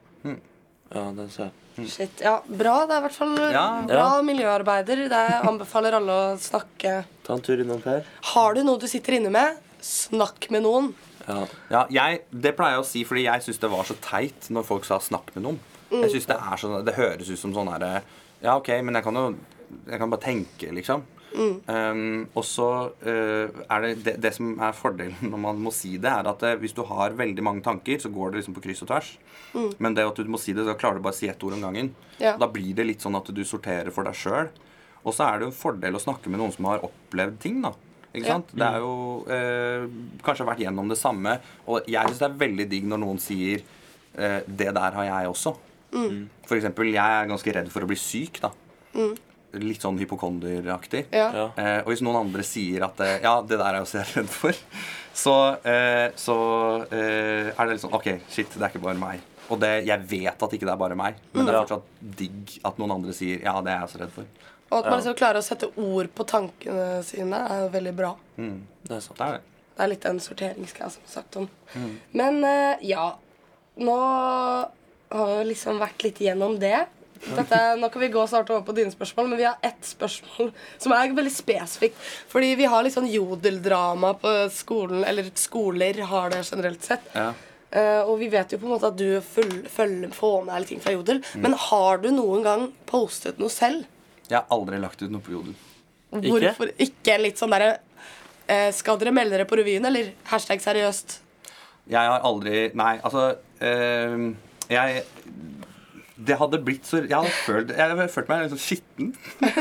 Ja, den ser jeg. Shit, ja, Bra. Det er i hvert fall Ja. bra miljøarbeider. Det anbefaler alle å snakke. Ta en tur innom Per. Har du noe du sitter inne med, snakk med noen. Ja. Ja, jeg, det pleier jeg å si fordi jeg syns det var så teit når folk sa 'snakk med noen'. Jeg synes Det er sånn, det høres ut som sånn herre Ja, OK, men jeg kan jo jeg kan bare tenke, liksom. Um, og så eh, er det, det det som er fordelen når man må si det, er at eh, hvis du har veldig mange tanker, så går det liksom på kryss og tvers. Men det at du må si det, så klarer du bare å si ett ord om gangen. Ja. Da blir det litt sånn at du sorterer for deg sjøl. Og så er det jo en fordel å snakke med noen som har opplevd ting, da. Ikke Ja. sant? Det er jo eh, kanskje vært gjennom det samme. Og jeg syns det er veldig digg når noen sier eh, 'det der har jeg også'. Mm. For eksempel, jeg er ganske redd for å bli syk, da. Litt sånn hypokonderaktig. Mm. Ja. Ja. Eh, og hvis noen andre sier at eh, 'ja, det der er jeg også redd for', <laughs> så, eh, så eh, er det litt sånn 'ok, shit, det er ikke bare meg'. Og det, jeg vet at ikke det er bare meg, men det er Ja. fortsatt digg at noen andre sier 'ja, det er jeg også redd for'. Og at man liksom klarer å sette ord på tankene sine, er jo veldig bra. Det er sant. Det er det. Det er litt den sorteringsgreia som vi snakket om. Men eh, ja. Nå har vi liksom vært litt gjennom det. Dette, nå kan vi gå snart over på dine spørsmål, men vi har ett spørsmål som er veldig spesifikt. Fordi vi har litt sånn jodeldrama på skolen, eller skoler har det generelt sett. Ja. Eh, og vi vet jo på en måte at du full, følger, får med deg litt ting fra jodel. Men har du noen gang postet noe selv? Jeg har aldri lagt ut noe på Jodel. Hvorfor ikke litt sånn derre eh, Skal dere melde dere på revyen, eller? Hashtag seriøst. Jeg har aldri Nei, altså eh, Jeg Det hadde blitt så Jeg hadde følt, jeg hadde følt meg liksom skitten.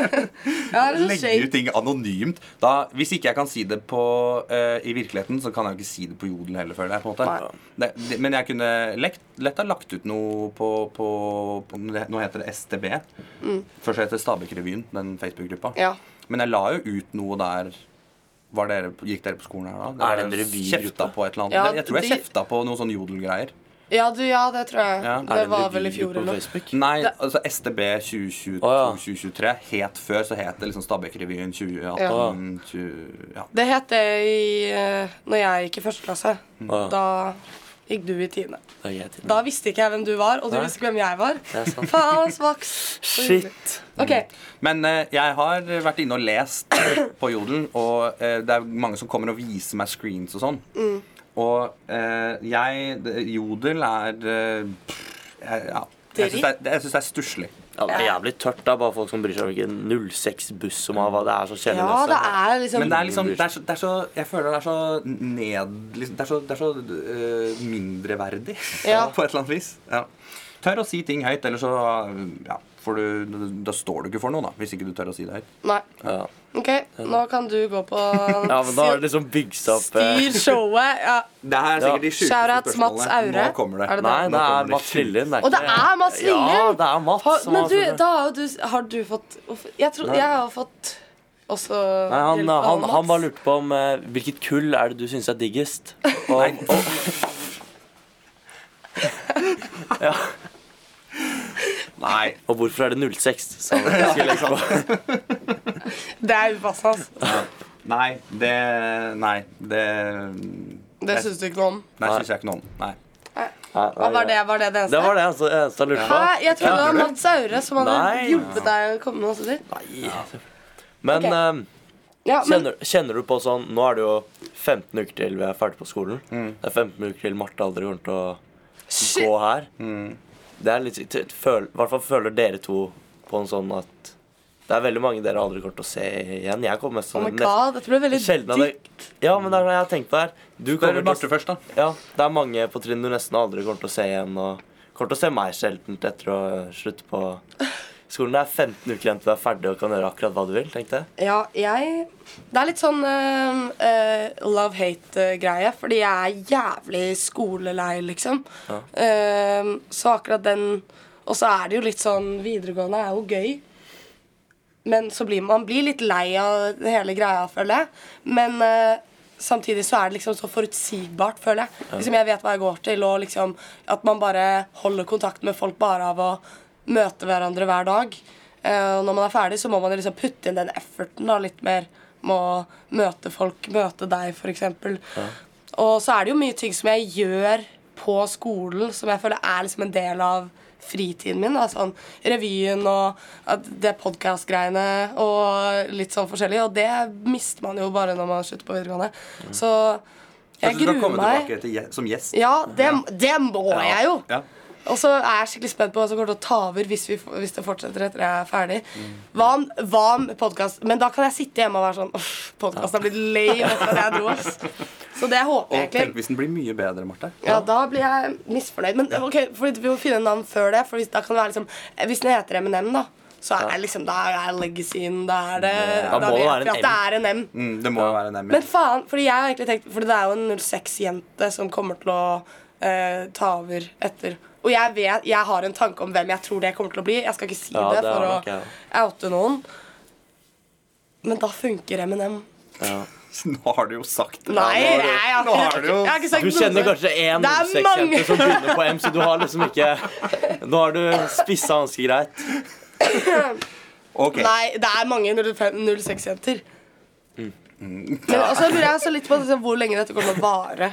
Ja, det er så Legge shake. ut ting anonymt. Da, hvis ikke jeg kan si det på, eh, i virkeligheten, så kan jeg jo ikke si det på Jodel heller, føler jeg. på en måte det, det, Men jeg kunne lekt, lett ha lagt ut noe på, på, på Nå heter det STB. Først heter det Stabekk-revyen, den Facebook-gruppa. Mm. Ja. Men jeg la jo ut noe der var dere, Gikk dere på skolen her da? Er det en Dere revygruppe? Kjefta på et eller annet. Ja, jeg tror jeg de- kjefta på noen sånn jodelgreier. Ja, du, ja, det tror jeg. Ja. det, Er en var vel i revy fjor på eller noe. Facebook? Nei, altså STB 2022 Å, 2023 Het før så het det liksom Stabekk-revyen 2018 ja. Ja. 20, ja. Det het det i eh, Når jeg gikk i første klasse. Å, ja. Da gikk du i tiende. Da gir jeg til Da visste ikke jeg hvem du var, og du Nei. visste ikke hvem jeg var. Det er sant. Faen, svaks. Shit. Ok, Men eh, jeg har vært inne og lest på Jodel, og eh, det er mange som kommer og viser meg screens og sånn. Og eh, jeg det- Jodel er eh, pff, jeg- Ja. Jeg syns det er, jeg synes det er stusslig. Ja, det er jævlig tørt. Det er bare folk som bryr seg om hvilken 06-buss som har hva det er som kjenner ja, det er liksom Men det er liksom det er så, det er så, Jeg føler det er så ned liksom, Det er så, det er så øh, mindreverdig Ja. <laughs> på et eller annet vis. Ja. Tør å si ting høyt, eller så øh, ja, får du, Da står du ikke for noe, da, hvis ikke du tør å si det høyt. Nei. Ja. Ok, nå kan du gå på ja, men da har det liksom bygd seg opp eh, Styr showet. Ja. Det her er Ja. sikkert de Shout sjukeste out Mats spørsmålene. Aure. Nå kommer det. Er det Nei, Nå det kommer er Mats <laughs> sjuke- Lillien. Og det er Mats Lillien! Eh, Ja, det er Mats. Har, som men har du, funnet- da har jo du Har du fått Jeg tror jeg har fått også Nei, han, eh, hjelp av han, han Mats. bare lurte på om eh, hvilket kull er det du syns er diggest. Og, og, Nei. og hvorfor er det 06? <laughs> Så han skulle legge på. Det er upassende. ass. Nei, det Nei, det Det syns du ikke noe om. Nei, syns jeg ikke noe om. Nei. Hva var det, var det det eneste? Det var det altså, det eneste han lurte på. Hæ? Jeg trodde det var Mats Aure som hadde Nei. hjulpet deg å komme med noe sånt. Nei. Men Ok. eh, Ja, men kjenner, kjenner du på sånn Nå er det jo 15 uker til vi er ferdig på skolen. Det er 15 uker til Marte aldri kommer til å shit, gå her. Det er litt t- føl, I hvert fall føler dere to på en sånn at det er veldig mange dere aldri kommer til å se igjen. Jeg kommer mest oh til my å- god, dette ble veldig nest- sjelden av dypt. det- Ja, men det er det jeg har tenkt på her. Du Spør kommer Marte til å, først, da. ja, det er mange på trinnet du nesten aldri kommer til å se igjen. Og kommer til å se meg sjeldent etter å slutte på skolen. Det er 15 uker igjen til du er ferdig og kan gjøre akkurat hva du vil. tenkte jeg. Ja, jeg Det er litt sånn eh, love-hate-greie, fordi jeg er jævlig skolelei, liksom. Ehm, så akkurat den Og så er det jo litt sånn Videregående er jo gøy. Men så blir man blir litt lei av det hele greia, føler jeg. Men eh, samtidig så er det liksom så forutsigbart, føler jeg. Liksom Jeg vet hva jeg går til, og liksom at man bare holder kontakt med folk bare av å møte hverandre hver dag. Eh, og når man er ferdig, så må man jo liksom putte inn den efforten da, litt mer med å møte folk, møte deg, f.eks. eksempel Og så er det jo mye ting som jeg gjør på skolen som jeg føler er liksom en del av fritiden min. Da. Sånn, revyen og at det podkast-greiene og litt sånn forskjellig. Og det mister man jo bare når man slutter på videregående. Så jeg Kanskje du kan gruer komme meg. tilbake til, gje- som gjest? Ja, det, det må jeg jo. Ja. Og så er jeg skikkelig spent på hva som kommer til å ta over hvis, vi, hvis det fortsetter etter jeg er ferdig. Hva om, hva om podkast Men da kan jeg sitte hjemme og være sånn Uff, podkasten har blitt lei etter at jeg dro, ass. Så det håper jeg Og tenk egentlig. hvis den blir mye bedre, Marte. Ja, da blir jeg misfornøyd. Men ok, fordi vi må finne en navn før det. For hvis, da kan det være liksom, hvis den heter M&M, da, så er liksom, da er legacyen Da er det Da må det vet være vi en at det er en M. Mm, det må jo være nemlig. Men faen, fordi jeg har egentlig tenkt Fordi det er jo en 06-jente som kommer til å eh, ta over etter Og jeg vet, jeg har en tanke om hvem jeg tror det kommer til å bli Jeg skal ikke si Ja, det, for det har å nok jeg. oute noen Men da funker M&M Ja. <laughs> Nå har du jo sagt det. Nei, jeg, Nå jeg, har Nå ikke, har du jeg jo har ikke sagt Du kjenner noe. kanskje én Det er 06-jente mange. som begynner på M, så du har liksom ikke Nå har du spissa ganske greit. Ok, Nei, det er mange 05 06-jenter Men også lurer jeg også litt på liksom, hvor lenge dette kommer til å vare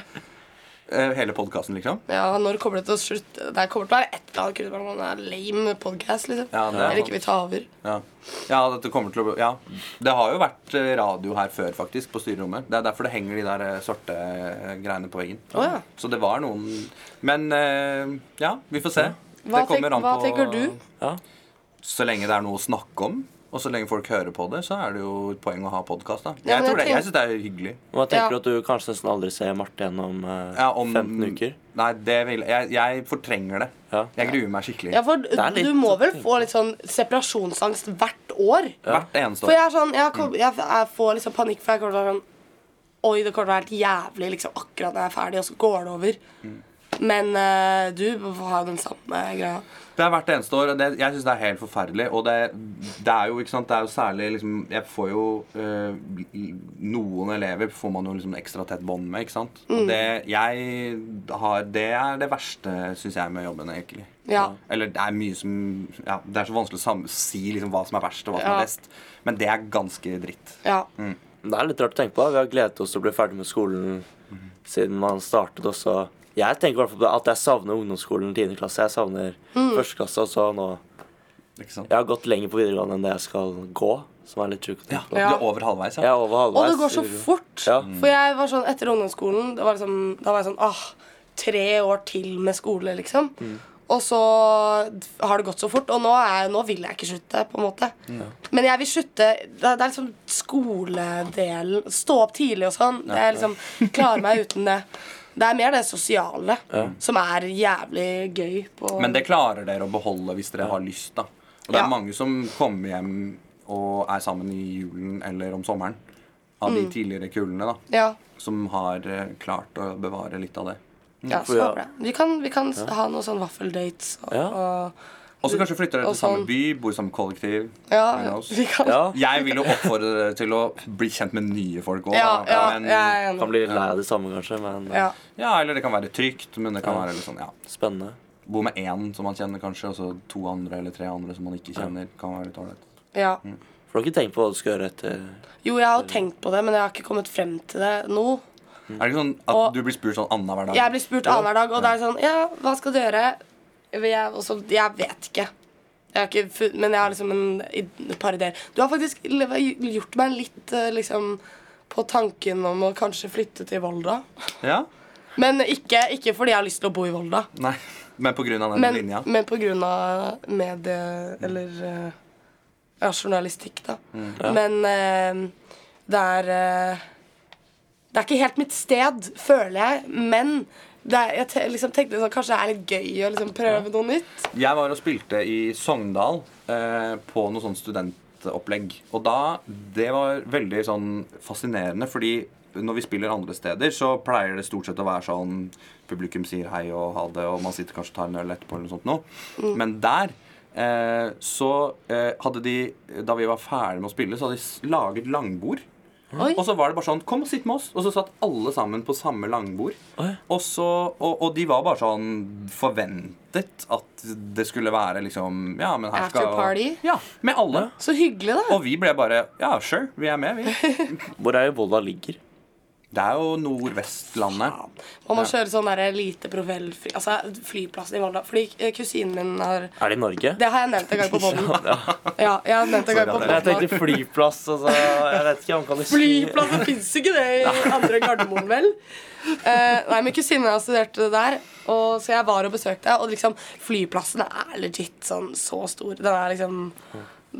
eh, Hele podkasten, liksom? Ja, når kommer det til å slutte? Det kommer til å være et eller annet kutt Det er lame podcast, liksom Ja, det er Eller ikke vil ta over Ja. ja, dette kommer til å bli- Ja. Det har jo vært eh, radio her før, faktisk, på styrerommet. Det er derfor det henger de der eh, svarte eh, greiene på veggen. Å, ja. Så det var noen Men eh, ja, vi får se. Hva, det kommer tenk, an hva på- tenker du? Ja. Så lenge det er noe å snakke om, og så lenge folk hører på det, så er det jo et poeng å ha podkast, da. Ja, Jeg, men tror jeg det, jeg syns det er hyggelig. Hva tenker du Ja. at du kanskje nesten aldri ser Marte igjen om, eh, Ja, om- 15 uker? Nei, det vil jeg Jeg fortrenger det. Ja. Jeg gruer meg skikkelig. Ja, for er litt Du må vel få litt sånn separasjonsangst hvert år? Hvert eneste For år. jeg er sånn, jeg, kom, jeg, jeg får liksom panikk, for jeg kommer til å være sånn Oi, det kommer til å være helt jævlig liksom, akkurat når jeg er ferdig, og så går det over. Mm. Men eh, du har jo den samme greia. Det er hvert eneste år, og det, jeg syns det er helt forferdelig. Og det, det er jo ikke sant, det er jo særlig liksom, Jeg får jo øh, i- Noen elever får man jo liksom ekstra tett bånd med, ikke sant. Mm. Og det, jeg har, det er det verste, syns jeg, med jobben, egentlig. Ja. Eller det er mye som ja, Det er så vanskelig å sam si liksom, hva som er verst, og hva som Ja. er best. Men det er ganske dritt. ja. Det er litt rart å tenke på. da. Vi har gledet oss til å bli ferdig med skolen siden man startet også. Jeg tenker i hvert fall at jeg savner ungdomsskolen 10. klasse. Jeg savner Mm. første klasse, og så nå Ikke sant? Jeg har gått lenger på videregående enn det jeg skal gå, som er litt sjukt. Ja, Du Ja. er over halvveis, Jeg ja. er over halvveis. Og det går så i videregående. fort. Ja. For jeg var sånn etter ungdomsskolen det var liksom, Da var jeg sånn ah, Tre år til med skole, liksom. Og så har det gått så fort, og nå, er, nå vil jeg ikke slutte. på en måte Men jeg vil slutte Det er, det er liksom skoledelen. Stå opp tidlig og sånn. Jeg liksom klarer meg uten det. Det er mer det sosiale som er jævlig gøy. På, Men det klarer dere å beholde hvis dere har lyst, da. Og det er Ja. mange som kommer hjem og er sammen i julen eller om sommeren. Av de tidligere kulene, da. Mm. ja, Som har eh, klart å bevare litt av det. ja, så ja. håper jeg. Vi kan, vi kan s- ha noen sånn vaffeldates. Og, Ja. og, Og så kanskje flytter dere Og til samme sånn- by, bor i samme kollektiv. who ja, knows? vi kan, Ja. Jeg vil jo oppfordre dere til å bli kjent med nye folk òg. Ja, ja, jeg er Kan enig. bli litt lei av det samme, kanskje, men eh, Ja. ja, eller det kan være trygt, men det kan være litt sånn, ja. spennende. Bo med én som man kjenner, kanskje, og så to andre eller tre andre som man ikke kjenner. Kan være litt ålreit. ja. For du har ikke tenkt på hva du skal gjøre etter Jo, jeg har jo tenkt på det, men jeg har ikke kommet frem til det nå. Er det ikke sånn at Og- du blir spurt sånn annenhver dag? Jeg blir spurt annenhver dag, og det er sånn Ja, hva skal du gjøre? Jeg, og så- jeg vet ikke. Jeg har ikke fun men jeg har liksom en id- et par ideer. Du har faktisk le- gjort meg litt eh, liksom på tanken om å kanskje flytte til Volda. Ja? Men ikke, ikke fordi jeg har lyst til å bo i Volda. Nei. Men på grunn av den Men, linja? men på grunn av medie eller eh, ja, journalistikk, da. Men eh, det er eh, Det er ikke helt mitt sted, føler jeg. Men det er, jeg te liksom tenkte sånn, kanskje det er litt gøy å liksom prøve noe nytt. Jeg var og spilte i Sogndal eh, på noe sånn studentopplegg. Og da Det var veldig sånn fascinerende, fordi når vi spiller andre steder, så pleier det stort sett å være sånn Publikum sier hei og ha det, og man sitter kanskje og tar en øl etterpå eller noe sånt noe. Mm. Men der eh, så eh, hadde de Da vi var ferdig med å spille, så hadde de s- laget langbord. Oi. Og så var det bare sånn Kom og sitt med oss. Og så satt alle sammen på samme langbord. Oi. Og, så, og, og de var bare sånn forventet at det skulle være liksom Ja, men her After skal party? Ja, Med alle. Så hyggelig, da. <laughs> Og vi ble bare Ja, sure, vi er med, vi. Hvor er det Volda ligger? Det er jo Nordvestlandet. Man må kjøre sånn der lite profilfly... Altså flyplassen i Volda. Fordi eh, kusinen min har Er det i Norge? Det har jeg nevnt en gang på podden. Ja, jeg har nevnt en gang på Nei, Jeg podden. tenkte flyplass, altså. Jeg vet ikke om kan du si <laughs> Flyplasser fins ikke det i andre Gardermoen, vel? Eh, nei, men kusinen min har studert det der, og, så jeg var og besøkte. Og liksom, flyplassen er legit sånn så stor. Den er liksom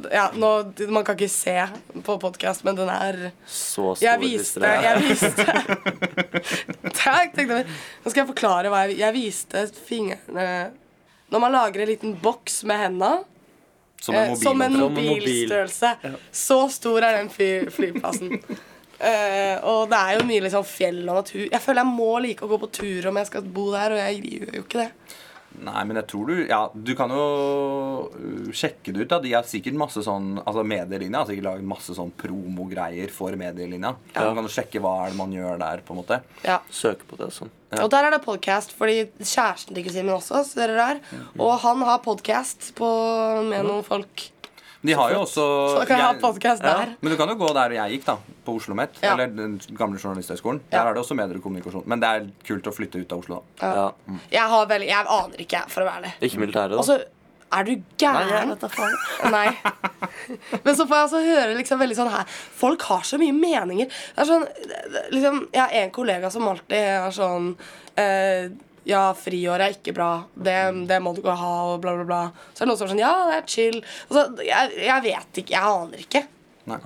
ja, nå, Man kan ikke se på podkast, men den er Så store Jeg viste, distré. jeg viste <laughs> Takk, tenkte jeg. Nå skal jeg forklare hva jeg Jeg viste fingrene Når man lager en liten boks med hendene Som en eh, som en Som mobilmotor. en mobil. mobilstørrelse. Så stor er den fly <laughs> flyplassen. Eh, og det er jo mye liksom fjell og natur. Jeg føler jeg må like å gå på tur om jeg skal bo der, og jeg gjør jo ikke det. Nei, men jeg tror du Ja, du kan jo øh, sjekke det ut. da De har sikkert masse sånn Altså Medielinja har sikkert laget masse sånn promogreier for Medielinja. Så man kan jo sjekke hva er det man gjør der, på en måte. Ja. Søke på det og sånn. Og der er det podcast, fordi kjæresten til kusinen min også studerer der. Og han har podcast på, med noen folk. De har jo også Så da kan jeg ha jeg- podcast Ja. der. Men du kan jo gå der hvor jeg gikk, da. På Oslo Met. Ja. Eller den gamle journalisthøgskolen. Ja. Der er det også medier og kommunikasjon. Men det er kult å flytte ut av Oslo, da. Ja. Jeg, har veldig, jeg aner ikke, jeg, for å være ærlig. Ikke militæret, da. Altså, er du gæren? <laughs> Nei. Men så får jeg altså høre liksom veldig sånn her Folk har så mye meninger. Det er sånn, det- det- liksom, jeg har en kollega som alltid er sånn eh, Ja, friår er ikke bra. Det, det må du ikke ha, og bla, bla, bla. Så er det noen som er sånn Ja, det er chill. Altså, jeg, jeg vet ikke. Jeg aner ikke. Nei.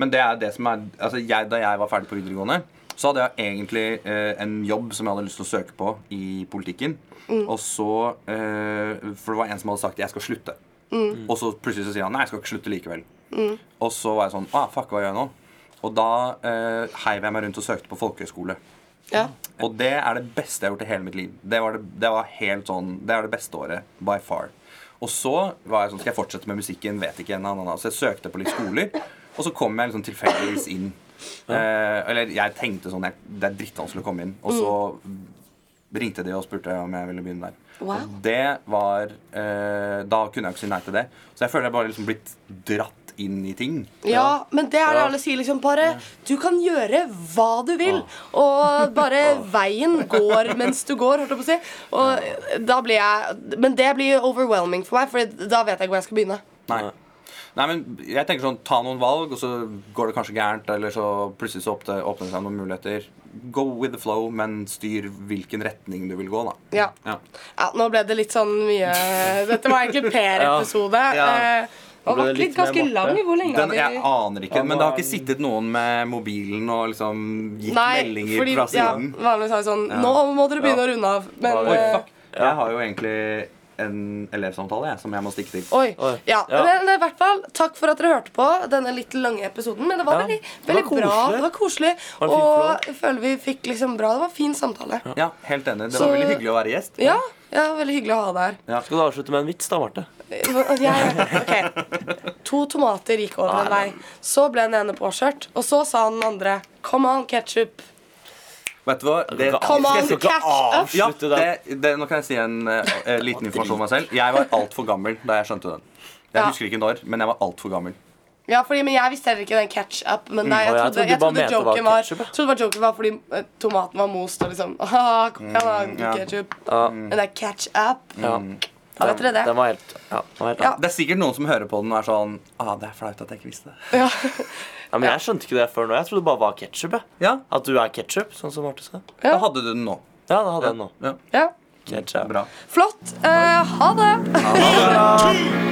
Men det er det som er altså jeg, Da jeg var ferdig på videregående, så hadde jeg egentlig eh, en jobb som jeg hadde lyst til å søke på i politikken. Mm. Og så eh, For det var en som hadde sagt 'jeg skal slutte'. Mm. Og så plutselig så sier han 'nei, jeg skal ikke slutte likevel'. Og så var jeg sånn 'ah, fuck, hva gjør jeg nå?' Og da eh, heiv jeg meg rundt og søkte på folkehøyskole. Ja. Og det er det beste jeg har gjort i hele mitt liv. Det var det, det var helt sånn, det er det beste året by far. Og så var jeg sånn, skal jeg fortsette med musikken? Vet ikke. Na, na, na. Så jeg søkte på litt skoler, og så kom jeg liksom tilfeldigvis inn. Eh, eller jeg tenkte sånn jeg, Det er drittvanskelig å komme inn. Og så ringte de og spurte om jeg ville begynne der. Wow. Og det var eh, Da kunne jeg ikke si nei til det. Så jeg føler jeg bare liksom blitt dratt inn i ting. Ja, men det er det alle sier. liksom Bare du kan gjøre hva du vil. Og <laughs> bare veien går mens du går, holdt jeg på å si. Og da blir jeg Men det blir overwhelming for meg, for da vet jeg hvor jeg skal begynne. Nei. Nei, men jeg tenker sånn, Ta noen valg, og så går det kanskje gærent. Eller så plutselig så åpner åpner det seg noen muligheter. Go with the flow, men styr hvilken retning du vil gå. da Ja. Ja. ja, Nå ble det litt sånn mye Dette var <laughs> egentlig Per-episode. Ja. Eh, Nå Og ble var det ikke litt litt ganske mer lang. Marte. Hvor lenge har Den, vi jeg aner ikke, Ja, men det har hva- ikke sittet noen med mobilen og liksom gitt Nei, meldinger fordi fra ja, siden. vanligvis har vi sånn Nå må dere begynne Ja. å runde av. Men Oi, eh, Fuck. Jeg har jo egentlig en elevsamtale jeg, som jeg må stikke til. Oi. Oi. Ja. Ja. Men i hvert fall, takk for at dere hørte på denne litt lange episoden. Men det var Ja. veldig, Det var veldig bra. koselig. Det var koselig. Var det fin og jeg føler vi fikk liksom bra. Det var fin samtale. Ja. Ja, helt enig. Det Så- var veldig hyggelig å være gjest. Ja, veldig hyggelig å ha <laughs> deg her. Skal du avslutte med en vits, da, Marte? Jeg, ok. To tomater gikk Ah, over en vei. Så ble den ene påkjørt, og så sa den andre Come on, ketchup. Vet du hva? Det, Come on, skal ikke catch up. ja, avslutte det, den. det, nå kan jeg si en eh, eh, liten informasjon om meg selv. Jeg var altfor gammel da jeg skjønte den. Jeg Ja. husker ikke når, men jeg var altfor gammel. Ja, fordi, men jeg visste heller ikke den ketchup. Men nei, jeg Mm, og jeg trodde, jeg trodde du bare trodde, mente det var joken var, ketchup, ja. trodde bare joken var fordi eh, tomaten var most og liksom <laughs> ah, Kom igjen, da, ja. ketchup. Ja. Men det er ketchup. Ja. Da vet dere det. Den var helt Ja. Den var helt, Ja. ja. Det er sikkert noen som hører på den og er sånn ah, det er flaut at jeg ikke visste det. men jeg skjønte ikke det før nå. Jeg trodde det bare var ketsjup. Ja, At du er ketsjup, sånn som Marte sa. Ja. Da hadde du den nå. Ja, det hadde jeg nå. Ja, <laughs> Ja. Ketchup. bra. Flott. Eh, ha det. Ha det bra. Two.